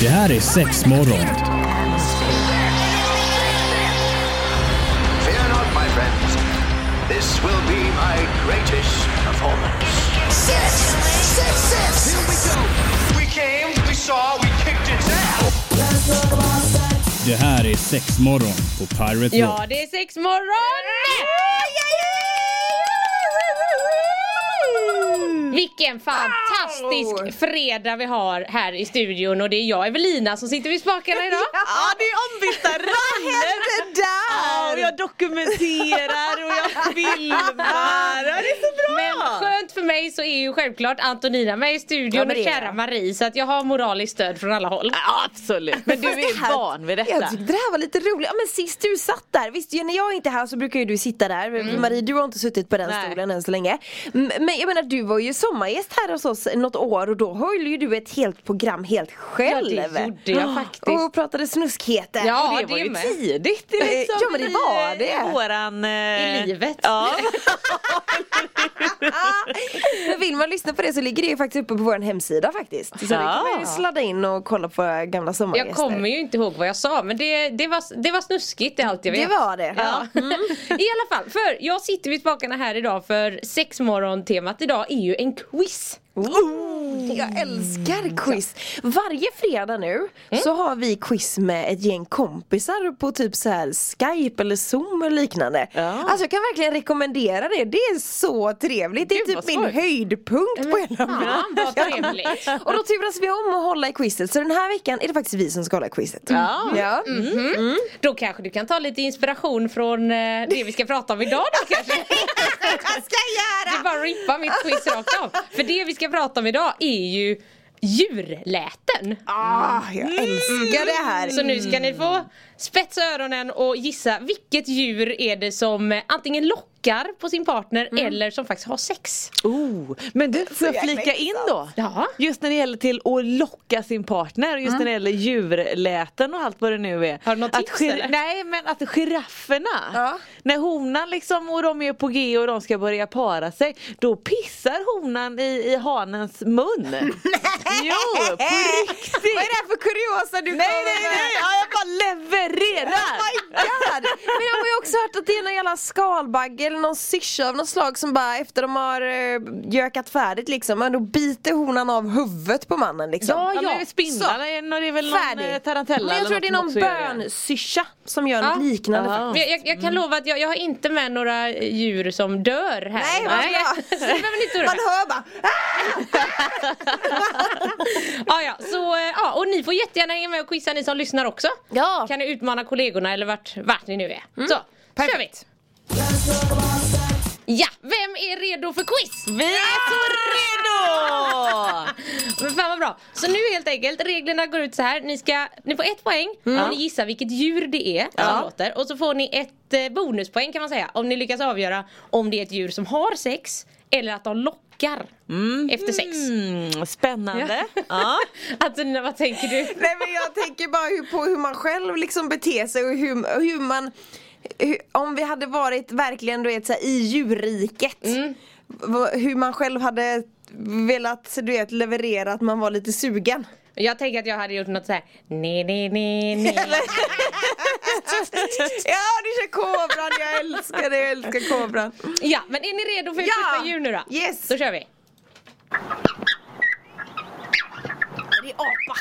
Det här är sex morgon. Fear not, my friends. This will be my greatest performance. Six, six, six. Here we go. We came, we saw, we kicked its ass. Det här är sex morgon på Pirate Rock. Ja, det är sex Mm. morgon! Vilken fantastisk fredag vi har här i studion och det är jag Evelina som sitter vid spakarna idag. Ja, det är ombytta roller! där? och jag dokumenterar och jag filmar. Ja, det är så bra! Men skönt för mig så är ju självklart Antonina med i Ja, studion men och det är kära jag. Marie så att jag har moraliskt stöd från alla håll. Ja, absolut, men du Fast det är här- van vid Jag detta. tyckte det här var lite roligt. Ja, men sist du satt där, visst ju, när jag inte är här så brukar ju du sitta där. Marie du har inte suttit på den Nej. stolen än så länge. M- Men jag menar du var ju sommargäst här hos oss något år och då höll ju du ett helt program helt själv. Ja, det gjorde jag faktiskt. Och pratade snuskheter. Ja, Och det, det var ju med. tidigt. Det är liksom Ja, men det i, var eh, det. Våran, eh, I livet. Ja. Ah. Men vill man lyssna på det så ligger det ju faktiskt uppe på vår hemsida faktiskt. Så det Ja. kan man ju sladda in och kolla på våra gamla sommargäster. Ah. Jag kommer ju inte ihåg vad jag sa men det, det, var, det var snuskigt det är allt jag vet. Det var det. Ja. Mm. I alla fall, för jag sitter vid spakarna här idag för sexmorgon-temat idag är ju en quiz. Oh, jag Mm. älskar quiz! Varje fredag nu så har vi quiz med ett gäng kompisar på typ så här Skype eller Zoom och liknande. Ja. Alltså jag kan verkligen rekommendera det, det är så trevligt. Det är Gud, vad typ min skoj. höjdpunkt på hela Fan vad trevligt. och då turas vi om att hålla i quizet så den här veckan är det faktiskt vi som ska hålla i quizet. Ja. Ja. Mm. Då kanske du kan ta lite inspiration från eh, det vi ska prata om idag då kanske? Jag ska Det göra! är bara att rippa mitt quiz rakt av. För det vi ska prata om idag är ju djurläten. Ah, jag älskar det här! Mm. Så nu ska ni få spetsa öronen och gissa vilket djur är det som eh, antingen lockar på sin partner Mm. eller som faktiskt har sex. Oh, men du, får jag jäkla flika in då? Ja. Just när det gäller till att locka sin partner, just när det gäller djurläten och allt vad det nu är. Har du något att tips, gir- eller? Nej men att girafferna, Ja. när honan liksom och de är på G och de ska börja para sig, då pissar honan i, i hanens mun. jo, på Vad är det riktigt! här för kuriosa du Nej kommer nej med? nej, ja, jag bara levererar! Oh my god! Men jag har ju också hört att det är någon jävla skalbagge eller någon syrsa av något slag som bara efter de har eh, gökat färdigt liksom, men då biter honan av huvudet på mannen liksom. Ja, men det är väl spindlar, eller det är väl någon eh, tarantella Men jag eller tror det är något någon som också gör det. bönsyrsa som gör något Ja. liknande Ja. faktiskt. Men jag, jag, jag kan lova att jag, jag har inte med några djur som dör här. Nej, vad bra. Så det behöver ni inte oroa Man er. hör bara "Ah!" ja, ja, så, eh, ja, och ni får jättegärna hänga med och quizza ni som lyssnar också. Ja. Mm. Kan ni utmana kollegorna eller vart, vart ni nu är. Så, kör vi! Ja, vem är redo för quiz? Vi är så redo! Men fan vad bra. Så nu helt enkelt, reglerna går ut så här. Ni, ska, ni får ett poäng Mm. om ni gissar vilket djur det är som Ja. låter. Och så får ni ett eh, bonuspoäng kan man säga. Om ni lyckas avgöra om det är ett djur som har sex eller att de lockar efter sex. Mm, spännande. Ja. Ja. Antonina, vad tänker du? Nej men jag tänker bara hur, på hur man själv liksom beter sig och hur, hur man hur, Om vi hade varit verkligen du vet, så här, i djurriket v- Hur man själv hade velat du vet, leverera att man var lite sugen Jag tänker att jag hade gjort något så här. Nej, nej, nej, nej. Eller- Ja du kör kobran, jag älskar det, jag älskar kobran Ja, men är ni redo för ett Ja. första djur nu då? Yes. Då kör vi. Det är apa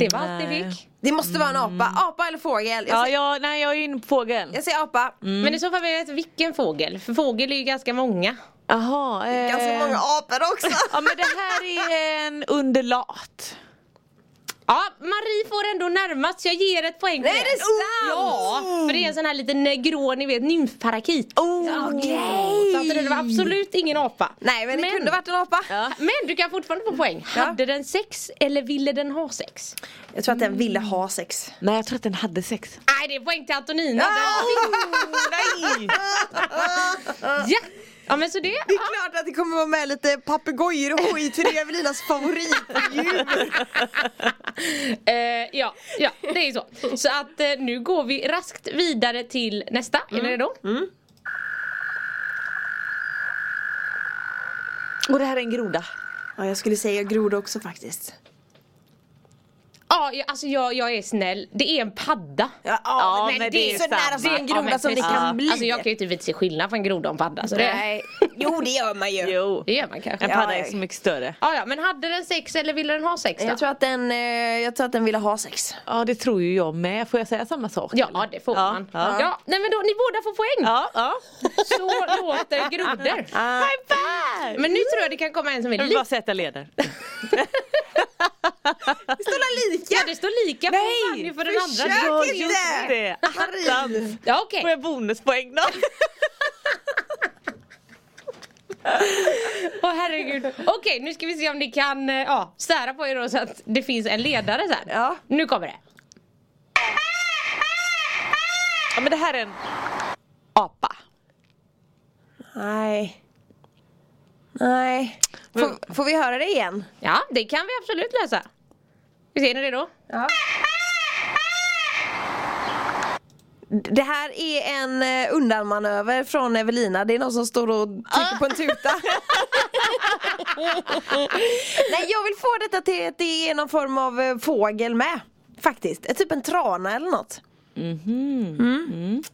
Det var allt ni nej. fick. Det måste vara en apa, apa eller fågel? Mm. Jag Ja, säger, jag, nej, jag är inne på fågeln. jag säger apa Men i så fall vill jag veta vilken fågel. För fågel är ju ganska många. Jaha. Eh, Ganska många apor också Ja men det här är en underlat. Ja, Marie får ändå närmast så jag ger ett poäng Nej, det är sant! Ja, för det är en sån här liten eh, grå, ni vet, nymfparakit. Oh. Så att det var absolut ingen apa. Nej men det kunde varit en apa Men du kan fortfarande få poäng. Hade den sex eller ville den ha sex? Jag tror att den ville ha sex Nej jag tror att den hade sex. Nej, det är poäng till Antonina. Ah! Ja. ja, men så det. Det är klart att det kommer vara med lite papegojor och skit för det är Evelinas favoritdjur. Eh, ja, ja, det är så. Så att eh, nu går vi raskt vidare till nästa. Är Mm. ni redo? Och det här är en groda. Ja, jag skulle säga groda också faktiskt. Ja, jag, alltså jag, jag är snäll. Det är en padda. Ja, ah, Ja, men, men det det är är så samma. nära som en Ja, groda men som det precis. kan bli. Alltså jag kan ju inte vite se skillnad på en groda och en padda. Så det, Nej. Jo, det gör man ju. Jo. det gör man kanske. En Ja. padda Ja, är ja. så mycket större. ja, men hade den sex eller ville den ha sex då? Jag tror, att den, eh, jag tror att den ville ha sex. Ja det tror ju jag med. Får jag säga samma sak? Ja, det får Ja, man. Ja. ja. nej, men då, ni båda får poäng. Ja, ja. Så låter grodor. Ah. High five! Men nu tror jag det kan komma en som är Jag vill bara lika. sätta leder. Det står lika! Ja, det står lika på Fanny för den andra. försök! Ja, inte! just det! Attans! Ja, okej. Får jag bonuspoäng då? Åh herregud. Okej, nu ska vi se om ni kan eh, ja, sära på er då så att det finns en ledare sen. Ja. Nu kommer det. Ja men det här är en apa. Nej. Nej. Får, får vi höra det igen? Ja, det kan vi absolut lösa. Vi ser ni det då? Det här är en eh, undanmanöver från Evelina. Det är någon som står och trycker på en tuta. Nej, jag vill få detta till att det är någon form av eh, fågel med. Faktiskt. Eh, Typ en trana eller något.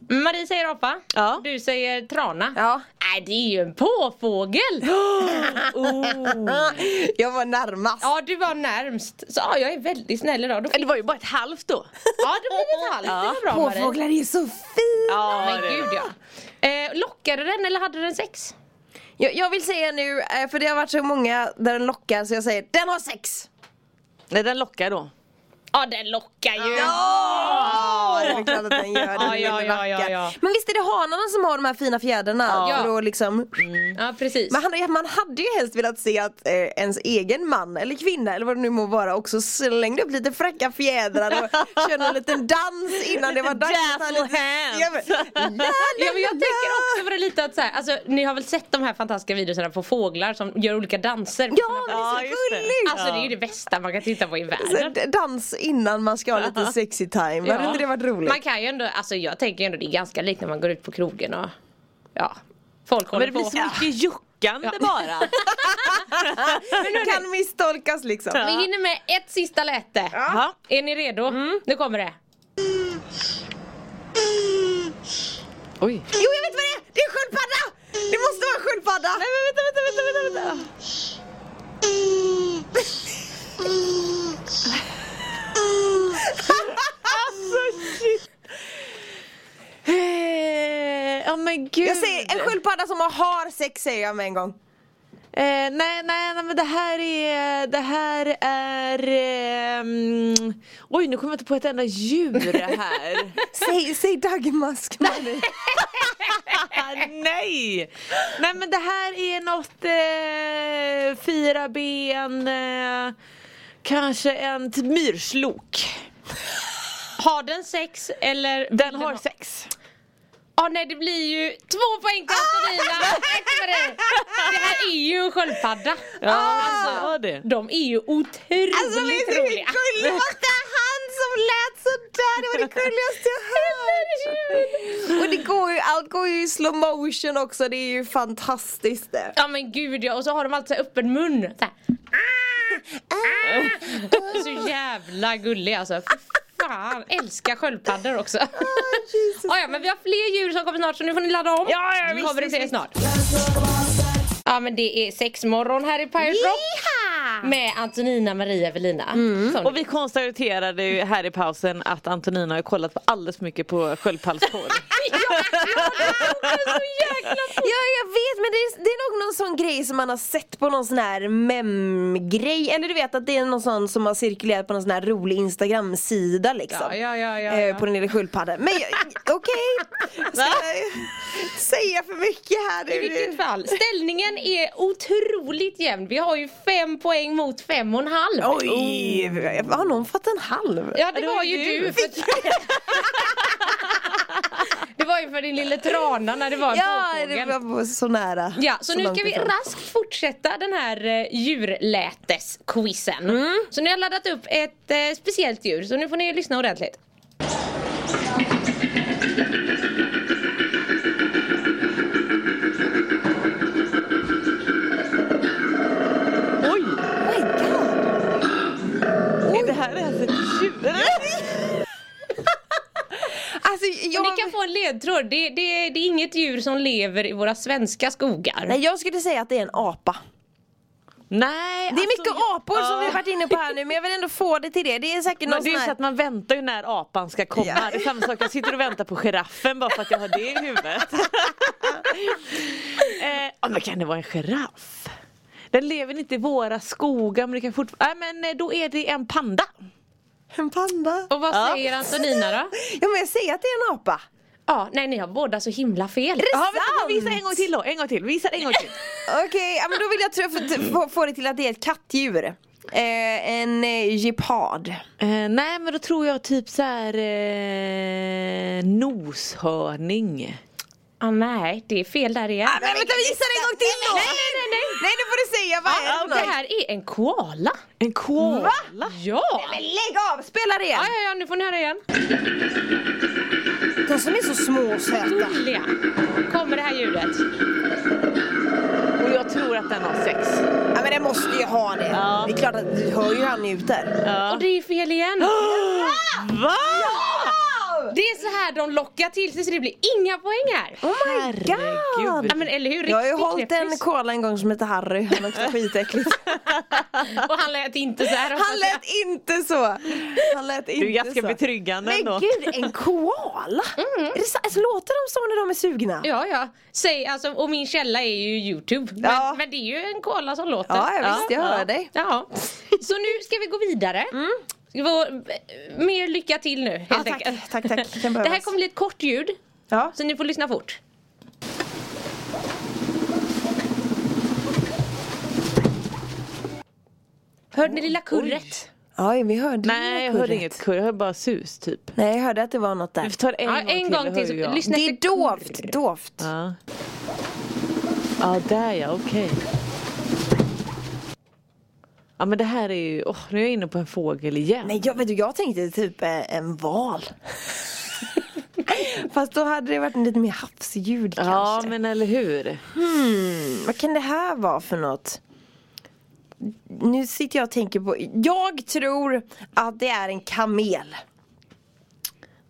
Marie säger apa. Mm. Ja. Du säger trana. Ja. Nej, det är ju en påfågel. Jag var närmast. Ja, du var närmst. Så ja, jag är väldigt snäll idag. Då fick... Det var ju bara ett halvt då. Ja, det var lite halvt. Det var bra Marie. Påfåglar är så fint! Ja, Men gud ja. Eh, lockade den eller hade den sex? Jag, jag vill säga nu, eh, för det har varit så många där den lockar så jag säger den har sex! Nej den lockar då. Ja, den lockar ju. Ja! Det är väl klart att den gör det. Ja, ja, Den är ja, ja, vacker. ja. Men visst är det hanarna som har de här fina fjädrarna? Ja. För att liksom... Ja, precis. Men han, man hade ju helst velat se att eh, ens egen man eller kvinna eller vad det nu må vara också slängde upp lite fräcka fjädrar och körde en liten dans innan det var dags. att ta dazzle hands. Ja, men- Ja, men jag tänker också på det lite att så här, alltså, ni har väl sett de här fantastiska videorna på fåglar som gör olika danser? Ja, men det Ja, är just så det. gulligt! Alltså det är ju det bästa man kan titta på i Så världen. d- Dans innan man ska ha lite sexy time, hade Ja. inte det varit roligt? Man kan ju ändå, alltså jag tänker ju ändå det är ganska likt när man går ut på krogen och ja, folk Men håller det blir på. så mycket juckande bara. kan misstolkas liksom. Vi hinner med ett sista läte. Ja. Är ni redo? Mm. Nu kommer det. Oj. Jo jag vet vad det är! Det är en sköldpadda! Det måste vara en sköldpadda! Nej men vänta, vänta, vänta, vänta, vänta. Alltså, Eh, Ja men gud. Jag säger en sköldpadda som har sex säger jag med en gång. Eh, nej, nej, nej men det här är, det här är, ehm, oj nu kommer jag inte på ett enda djur här. Säg, säg dagmask Marie. ah, nej! Nej men det här är något eh, fyra ben, eh, kanske en t- myrslok. Har den sex eller? vill Den har ha- sex. Ja nej det blir ju två poäng till Ah! Antonina! Tack för det! Det här är ju en sköldpadda. Alltså, Ja, ah, det var det. De är ju otroligt Alltså det är så roliga. gulligt, det var inte han som lät sådär, det var det gulligaste jag hört! Och det går ju, allt går ju i slow motion också, det är ju fantastiskt det. Ja men gud ja, och så har de alltid så här öppen mun. Så, här. Ah, ah. så jävla gullig alltså. Fy Fan, älskar sköldpaddor också. Ah, ja, men vi har fler djur som kommer snart så nu får ni ladda om. Ja, ja, visst, kommer det fler snart. Ja men det är sexmorgon här i Pirate Rock med Antonina Maria Evelina. Som- Och vi konstaterade ju här i pausen att Antonina har kollat på alldeles mycket på sköldpaddsporr. Ja, ja, det är så jäkla på. Ja jag vet men det är, det är nog någon sån grej som man har sett på någon sån här mem-grej Eller du vet att det är någon sån som har cirkulerat på någon sån här rolig instagram-sida liksom Ja, ja, ja, ja, Eh, ja. På den lilla sköldpaddan Men jag- okej, ska jag säga för mycket här nu? I vilket fall, ställningen är otroligt jämn. Vi har ju fem poäng mot fem och en halv. Oj, har någon fått en halv? Ja det var ju du. För... det var ju för din lille trana när det var en Ja, påfågel. det var så nära Ja, så, nu långt ska vi ifrån. raskt fortsätta den här eh, djurlätesquizen. Mm. Så nu har jag laddat upp ett eh, speciellt djur, så nu får ni lyssna ordentligt. Oj! Alltså, en ledtråd. Det, det, det är inget djur som lever i våra svenska skogar. Nej jag skulle säga att det är en apa. Alltså, Nej, alltså, Det är mycket apor som vi har varit inne på här nu men jag vill ändå få det till det. Det är säkert Men någon det är sån ju så här... att man väntar ju när apan ska komma. Ja. Det är samma sak, jag sitter och väntar på giraffen bara för att jag har det i huvudet. eh, ja, men kan det vara en giraff? Den lever inte i våra skogar men det kan fortfarande... Nej men eh, då är det en panda. En panda. Och vad Ja. säger Antonina då? Ja men jag säger att det är en apa. Ja, nej ni har båda så himla fel. det Ja, vänta, sant? visa en gång till då, en gång till, visa en gång till. Okej, ja, men då vill jag tro- få- få- få det till att det är ett kattdjur. Eh, en eh, gepard. Eh, nej men då tror jag typ så här eh, noshörning. Ja, nej, det är fel där igen. men vänta, visa det en gång till då! Nej, nej, nej, nej. Nej, nu får du säga vad är det Ja, för det något? här är en koala. En koala? Ja! Men lägg av, spela det igen! Ja, ja, ja, nu får ni höra igen. De som är så små och söta. Lea, kommer det här ljudet? Och jag tror att den har sex. Ja men den måste ju ha det. Det är klart att du hör ju hur han njuter. Och det är fel igen. Va? Det är så här de lockar till sig så det blir inga poäng här. Oh my god! Herregud. Ja, men eller hur? Jag har ju Riktigt hållit en knäppis. koala en gång som hette Harry, han luktar skitäckligt. Och han lät inte så här. Han lät inte så! Han lät inte Du är ganska så. betryggande Men ändå. gud, en koala! Är det så, alltså, låter de så när de är sugna? Ja, ja. Säg, alltså, och min källa är ju Youtube. Men, Ja. men det är ju en koala som låter. Ja, jag visste, jag hör dig. Mm. Ja. Så nu ska vi gå vidare. Ska vi få, eh, mer lycka till nu. Helt Ja, tack, enkelt. tack, tack. Kan Det här behövas. kommer bli ett kort ljud, Ja. så ni får lyssna fort. Hörde ni lilla kurret? ja, vi hörde Nej ju jag hörde kurret. inget kurr, jag hörde bara sus typ. Nej, jag hörde att det var något Vi där. får ta det en, Ja, gång, en till, gång det till. hör ju Så, jag. lyssna Det är efter dovt, dovt. Ja. ja där ja, okej. Ja men det här är ju, åh nu är jag inne på en fågel igen. Nej, jag, vet du, jag tänkte typ eh, en val. Fast då hade det varit en lite mer havsljud ja kanske. men eller hur. Vad kan det här vara för något? Nu sitter jag och tänker på, jag tror att det är en kamel.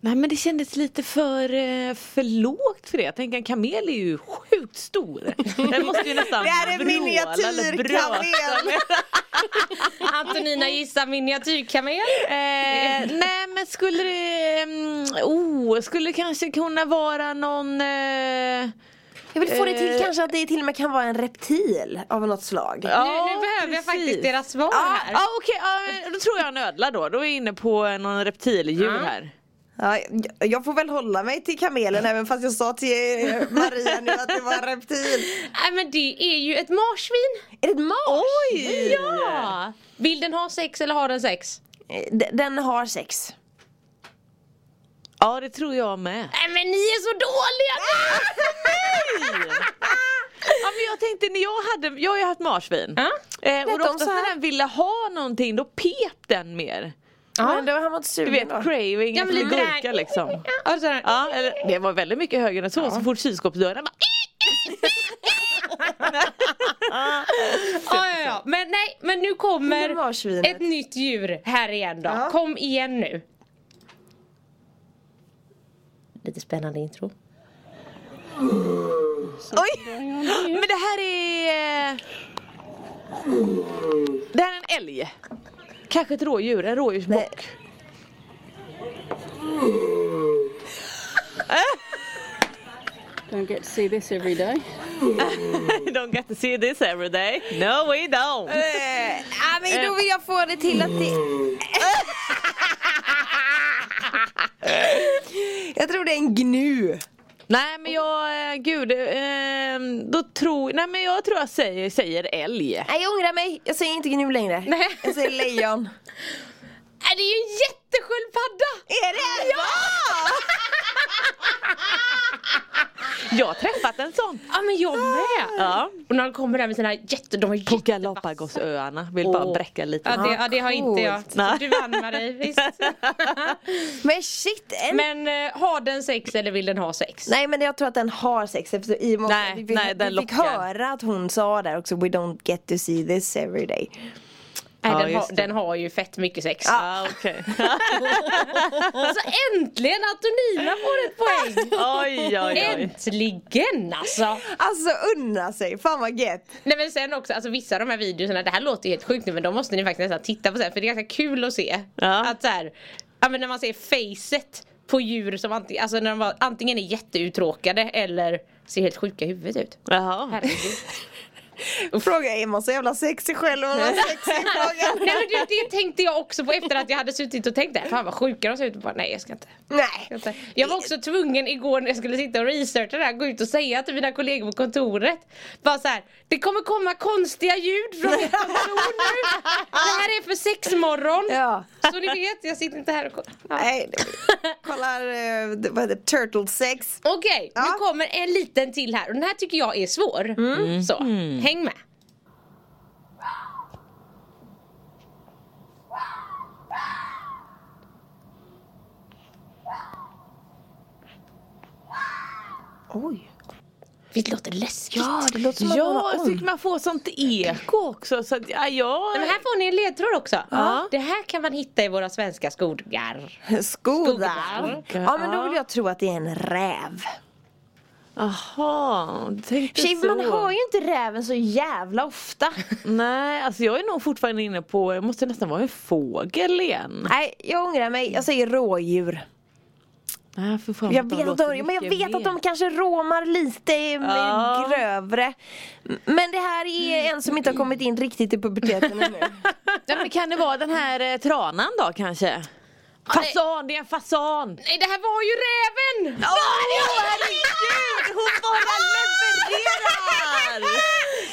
Nej men det kändes lite för, eh, för lågt för det. Jag tänker en kamel är ju sjukt stor. Den måste ju nästan Det är en vråla eller bråka. miniatyrkamel! Antonina gissar miniatyrkamel. Eh, nej men skulle det, mm, oh, skulle det kanske kunna vara någon eh, Jag vill få det till Eh. kanske att det till och med kan vara en reptil av något slag. Ja, nu, nu behöver jag precis. faktiskt deras svar Ja, här. ah, okej, ah, då tror jag en ödla då. Då är vi inne på någon reptildjur Ja. här. Ja, jag- jag får väl hålla mig till kamelen även fast jag sa till eh, Maria nu att det var en reptil. Nej men det är ju ett marsvin! Är det ett mars? Ja! Vill den ha sex eller har den sex? Eh, d- Den har sex. Ja, det tror jag med. Nej men ni är så dåliga! Ja, men jag tänkte när jag hade, jag har ju haft marsvin. Ja. Eh, Lät och då de oftast så här? när den ville ha någonting då pep den mer. Men då har man inte Du sugen vet då. craving Ja, men efter lite gurka där. liksom. Ja, sådär. Ja, eller, det var väldigt mycket högre än så, så fort kylskåpsdörren bara Ja, ja, ja. Men nej, men nu Det kommer var svinet. ett nytt djur här igen då. Ja. Kom igen nu. Lite spännande intro. Oj! Men det här är... eh, Det här är en älg. Kanske ett rådjur, en rådjursbock. Don't get to see this every day. Don't get to see this every day. No we don't. Eh, ja, men då vill jag få det till att det... jag tror det är en gnu. Nej men jag, eh, gud, eh, då tror, nej men jag tror jag säger, säger älg. Nej, jag ångrar mig. Jag säger inte gnu längre. Nej. Jag säger lejon. Äh, det är ju en jättesköldpadda! Är det? Ja! Jag har träffat en sån. Ja men jag med! Ja. Och när de kommer där med sina jätte... De är På jätte... Galapagosöarna, vill bara bräcka lite. Ja det, ja, det har inte jag. Coolt. Så du vann Marie, visst. Men shit, en... Men eh, har den sex eller vill den ha sex? Nej men jag tror att den har sex eftersom i och med Nej, vi, vi, nej, den vi fick lockar. höra att hon sa där också We don't get to see this every day Nej, Ja, den, har, just det. den har ju fett mycket sex. Ah, okej. Alltså äntligen att Nina får ett poäng! oj, oj, oj. Äntligen alltså! Alltså unna sig, fan vad gett! Nej men sen också, alltså vissa av de här videorna, det här låter ju helt sjukt nu men de måste ni faktiskt nästan titta på sen för det är ganska kul att se. Ja. Att så här, ja men när man ser facet på djur som antingen, alltså när de var, antingen är jätteuttråkade eller ser helt sjuka i huvudet ut. Jaha. Herregud. Fråga är man så jävla sexig själv om man har sex i Nej frågan? men det, det tänkte jag också på efter att jag hade suttit och tänkt det här. Fan vad sjuka de ser ut. Och Bara, nej jag ska inte. Nej! Vänta. Jag var också tvungen igår när jag skulle sitta och researcha det här, gå ut och säga till mina kollegor på kontoret. Bara så här, det kommer komma konstiga ljud från mitt kontor nu. Det här är för sexmorgon. Ja. Så ni vet, jag sitter inte här och kollar. Ja. Nej, kollar, eh, vad heter det, turtle sex. Okej, Ja. nu kommer en liten till här och den här tycker jag är svår. Så, häng med. Oj. Visst låter det läskigt? Ja, det låter som att man Ja, har jag ont. tycker man får sånt eko också. Så att, ja, jag... Men här får ni en ledtråd också. Ja. Det här kan man hitta i våra svenska skogar. Skodar. Skodar. Ja men då vill jag tro att det är en räv. Jaha, du tänkte Tjej, så. man hör ju inte räven så jävla ofta. Nej, alltså jag är nog fortfarande inne på, jag måste nästan vara en fågel igen. Nej, jag ångrar mig. Jag säger rådjur. Nej, för fan, Jag de vet, att låter de, men jag mycket vet att mer. de kanske råmar lite i- med Ja. grövre. Men det här är en som inte har kommit in riktigt i puberteten ännu. Nej, men kan det vara den här eh, tranan då kanske? Fasan, det är en fasan! Nej, det här var ju räven! Åh herregud, hon bara levererar!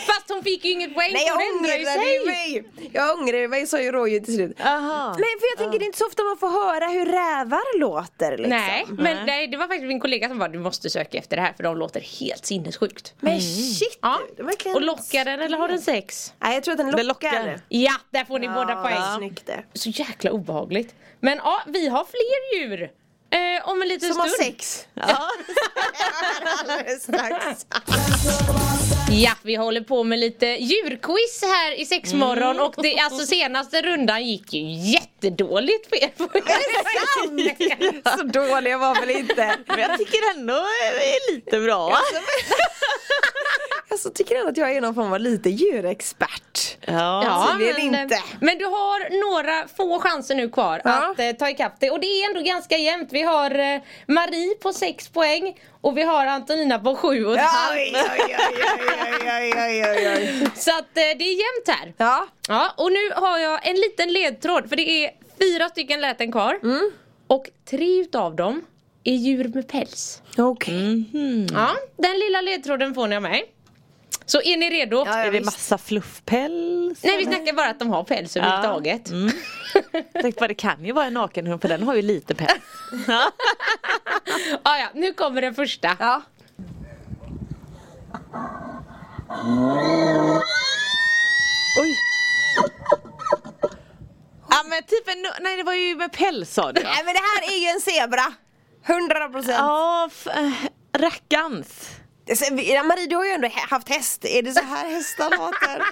Fast hon fick ju inget poäng, Nej jag hon ändrade ju sig. ångrade mig! Jag ångrade mig sa ju rådjur till slut. Aha. Men för jag tänker det är inte så ofta man får höra hur rävar låter liksom. Nej, men nej, det var faktiskt min kollega som bara du måste söka efter det här för de låter helt sinnessjukt. Men shit! Ja. du, det är verkligen- Och lockar den eller har den sex? Nej jag tror att den lockar. Den lockar. Ja, där får ni båda Ja, poäng. Snyggt det. Så jäkla obehagligt. Men ja, vi har fler djur. Eh, om en liten Som har stund. sex. Ja. Alldeles strax. Ja, vi håller på med lite djurquiz här i Mm. sexmorgon och det, alltså senaste rundan gick ju jättedåligt för er. Så dåliga var väl inte. Men jag tycker ändå är lite bra. Jag så Alltså, tycker ändå att jag är någon form av lite djurexpert. Ja. tydligen inte. men du har några få chanser nu kvar Ja. att eh, ta ikapp dig. Och det är ändå ganska jämnt. Vi har eh, Marie på 6 poäng och vi har Antonina på 7 och ett halvt. Oj, oj, oj, oj, oj, oj, oj, oj. Så att eh, det är jämnt här. Ja, Ja, och nu har jag en liten ledtråd för det är fyra stycken läten kvar. Mm. Och tre utav dem är djur med päls. okej. Mhm. Ja, den lilla ledtråden får ni av mig. Så är ni redo? Ja, ja, Är det visst. massa fluffpäls? Nej vi snackar bara att de har päls överhuvudtaget. Mm. Tänk bara, det kan ju vara en nakenhund för den har ju lite päls. Ja, ja, nu kommer den första. Ja. Oj. Ja men typ en, nej det var ju med päls sa du ja. Nej men det här är ju en zebra. 100 procent. Ja, f- eh, rackarns. Marie du har ju ändå hä- haft häst. Är det så här hästar låter?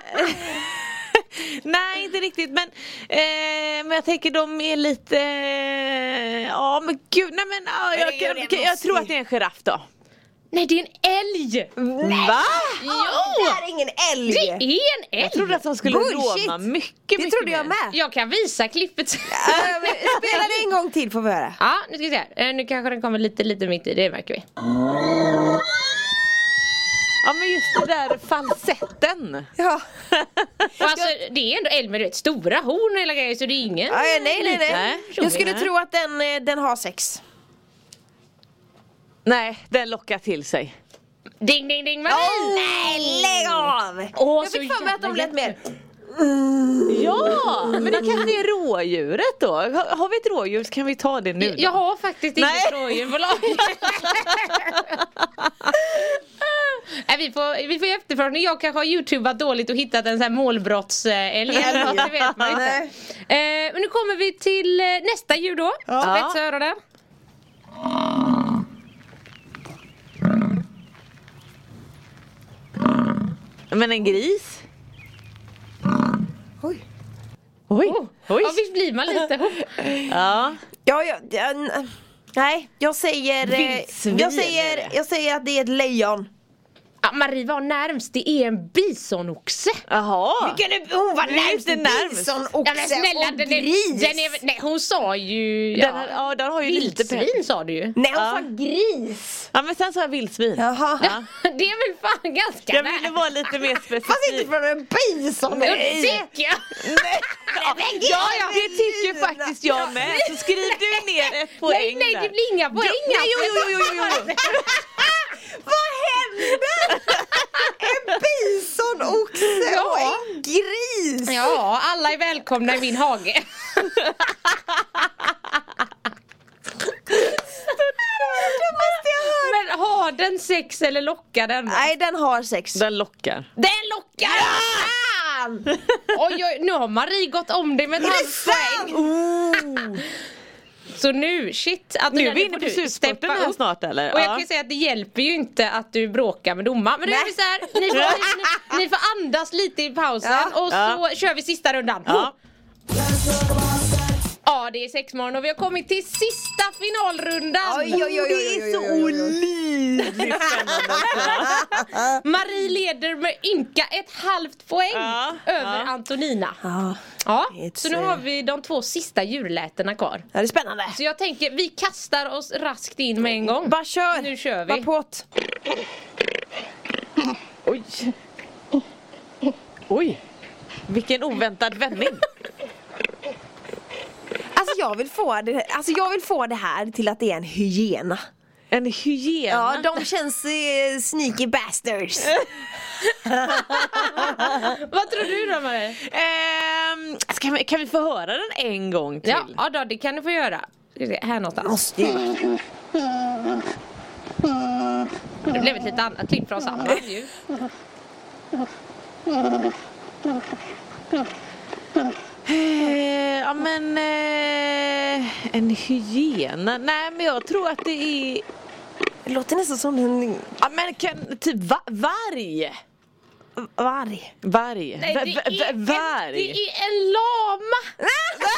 Nej inte riktigt men, eh, men jag tänker de är lite, eh, ja men gud, nej men ja, jag, det gör det, kan, jag, måste tror ju. att det är en giraff då. Nej det är en älg! Nej. Va? Det här är ingen älg. Det är en älg! Jag trodde att de skulle Bullshit. råna mycket Det mycket trodde jag mer. med. Jag kan visa klippet sen. Äh, men Spela det en gång till får vi höra. Ja, nu ska vi se. här. Eh, Nu kanske den kommer lite, lite mitt i, det märker vi. Ja men just det där falsetten. Ja. Och Alltså, det är ändå älg med du vet, stora horn och hela grejen så det är ingen... Ja, ja, nej, nej, nej. Nej, Jag skulle nej. tro att den, eh, den har sex. Nej, den lockar till sig. Ding ding ding Marie! nej, lägg av! Åh, Jag så fick för mig att de jävla lät mer. Ja, men det kanske är rådjuret då. Har, har vi ett rådjur så kan vi ta det nu då. Jag har faktiskt Nej. inget rådjur på lager. Nej, vi, får, vi får ju efterfrågan. Jag kanske har youtubat dåligt och hittat en sån här målbrottsälg eller något, det vet man inte. Nej. Eh, men nu kommer vi till eh, nästa djur då. Spetsa öronen. Men en gris? Oj, Oh. oj. Ja, visst blir man lite... Oh. Ja. Ja, jag, jag, n- nej, jag säger, eh, Vildsvin jag, är säger, det. jag säger att det är ett lejon. Ja, Marie var närmst, det är en bisonoxe. Jaha. Hon var närmst närmst. Ja, men snälla, den är, den är, nej, hon sa ju... Den, här- ja, den har ju lite pe- vildsvin sa du ju. Nej, hon sa Ja. gris. Ja men sen sa jag vildsvin. Jaha. Ja. Det är väl fan ganska Jag ville vara lite mer Fast inte specifik. från en bison. Nej. Tycker jag. Ja, ja, det tycker ju faktiskt jag med. Så skriv du ner ett Nej, poäng nej, det där. blir inga poäng. nej, jo, jo, jo, jo, jo. Vad hände? En bisonoxe och en gris. Ja, alla är välkomna i min hage. Då måste jag höra. Men har den sex eller lockar den? Nej, den har sex. Den lockar. Den lockar! Fan! Oj, oj, nu har Marie gått om dig med ett halvt poäng. Så nu, shit. Att Nu den är vi får inne på du slutspurten steppa här upp. snart eller? Och jag Ja. kan ju säga att det hjälper ju inte att du bråkar med domaren. Men nu är Nej. vi så här, ni, får, ni, ni får andas lite i pausen Ja. och så Ja. kör vi sista rundan. Ja. Ja, det är sexmorgon och vi har kommit till sista finalrundan. Oj, oj, oj, oj, oj, oj, oj, oj, oj. Olidligt spännande också. Marie leder med ynka ett halvt poäng Ja, över ja. Antonina. Ja, Ja, It's, så nu eh, har vi de två sista djurlätena kvar. det är spännande. Så jag tänker, vi kastar oss raskt in med en gång. Bara kör. Nu kör vi. Bara på't. Oj. Oj. Vilken oväntad vändning. Alltså jag, vill få det, alltså jag vill få det här till att det är en hyena. En hyena. Ja, de känns eh, sneaky bastards. Vad tror du då Marie? Ehm, ska vi, kan vi få höra den en gång till? Ja, ja då, det kan du få göra. Ska vi se, Här någonstans. Måste ju. Det blev ett lite annat klipp från samma ljud. Eh, ja men eh, en hyena. Nej men jag tror att det är Det låter nästan som en ja, men kan, typ va, varg. varg. Varg. Nej, Va- det va- va- är en, varg. det är en lama!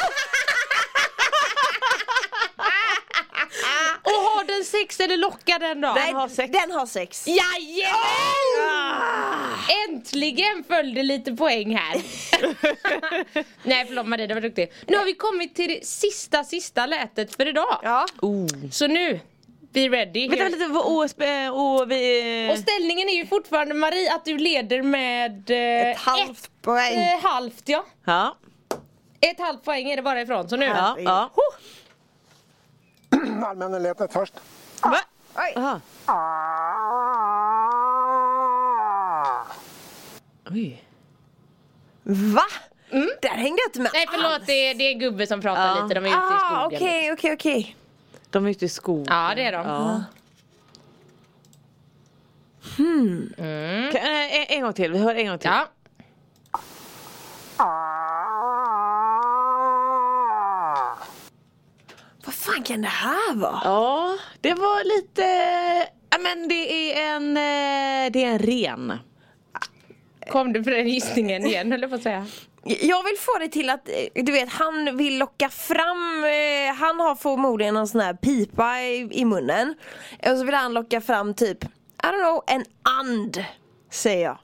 Och har den sex eller lockar den då? Den har sex. Den har sex. Jajamän! Oh! Ah! Äntligen följde lite poäng här. Nej förlåt Marie, det var duktig. Nu har vi kommit till det sista, sista lätet för idag. Ja. Oh. Så nu, be ready. Vänta here. lite, och, och, sp- och vi... Och ställningen är ju fortfarande Marie att du leder med eh, Ett halvt ett, poäng. eh, halvt ja. ja, Ett halvt poäng är det bara ifrån så nu. ja, ja. Allmänheten först. Va? Oj. Aha. Oj. Va? Där hängde jag inte med Nej förlåt, det är, det är en gubbe som pratar Ja. lite, de är ute i skogen. Ah, okej, okej, okej. De är ute i skogen. Ja, det är de. Ja. Kan, eh, en, en gång till, vi hör en gång till. Ja. Vad fan kan det här vara? Ja, det var lite... Ja, men det är en... eh, Det är en ren. Kom du på den gissningen igen höll jag på att säga. Jag vill få det till att, eh, du vet, han vill locka fram, eh, han har förmodligen någon sån här pipa i, i munnen. Och så vill han locka fram typ, I don't know, en and. Säger jag.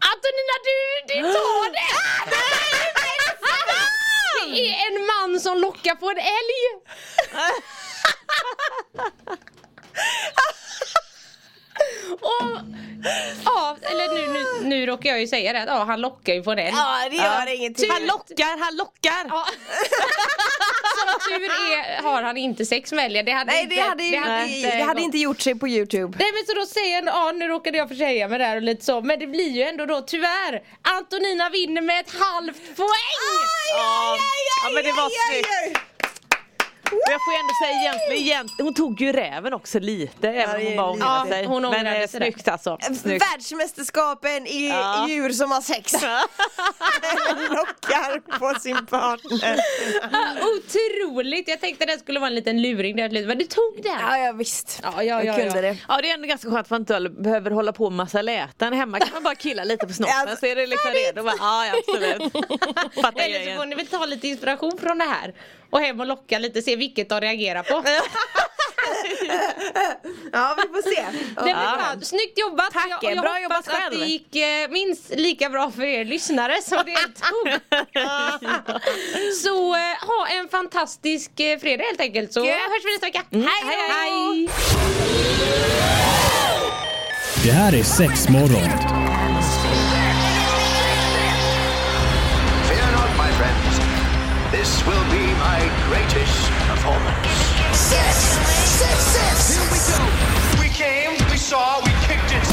Antonina du, du tar det! Det är en man som lockar på en älg! Och, ja, eller nu, nu, nu råkar jag ju säga det, att ja, han lockar ju på en älg. Ja, det gör ingenting. Han lockar, han lockar! Ja. Som tur är har han inte sex med älgar. Det hade Nej, inte, det hade, ju, det, hade, det hade gått. inte gjort sig på Youtube. Nej men så då säger han, ja nu råkade jag försäga mig där och lite så, men det blir ju ändå då tyvärr Antonina vinner med ett halvt poäng! Ja, ja, men det var snyggt. Och jag får ju ändå säga egentligen, egent- hon tog ju räven också lite även om det är hon bara lite. ångrade sig. Ja, hon Men ångrade eh, sig där. snyggt alltså. Snyggt. Världsmästerskapen i Ja. djur som har sex. Lockar på sin partner. Ah, Otroligt! Jag tänkte det skulle vara en liten luring där lite, men du tog den! Ja, ja visst. Ja, ja, ja, jag kunde ja. det. Ja det är ändå ganska skönt för att man inte behöver hålla på med massa läten. Hemma kan man bara killa lite på snoppen Alltså, så är det liksom redo. Bara, Ja, ja absolut. Fattar Eller så får grejen. ni väl ta lite inspiration från det här och hem och locka lite, se vilket de reagerar på. Ja, vi får se. Det blir bra. Snyggt jobbat! Tack, jag, och jag bra hoppas att jobbat själv. det gick eh, minst lika bra för er lyssnare som det tog. så eh, ha en fantastisk eh, fredag helt enkelt så hörs vi nästa vecka. hej! hej, hej. hej. Det här är sex morgon. Fear not, my friends. This will be my greatest performance. Six, six, six. Here we go. We came, we saw, we kicked its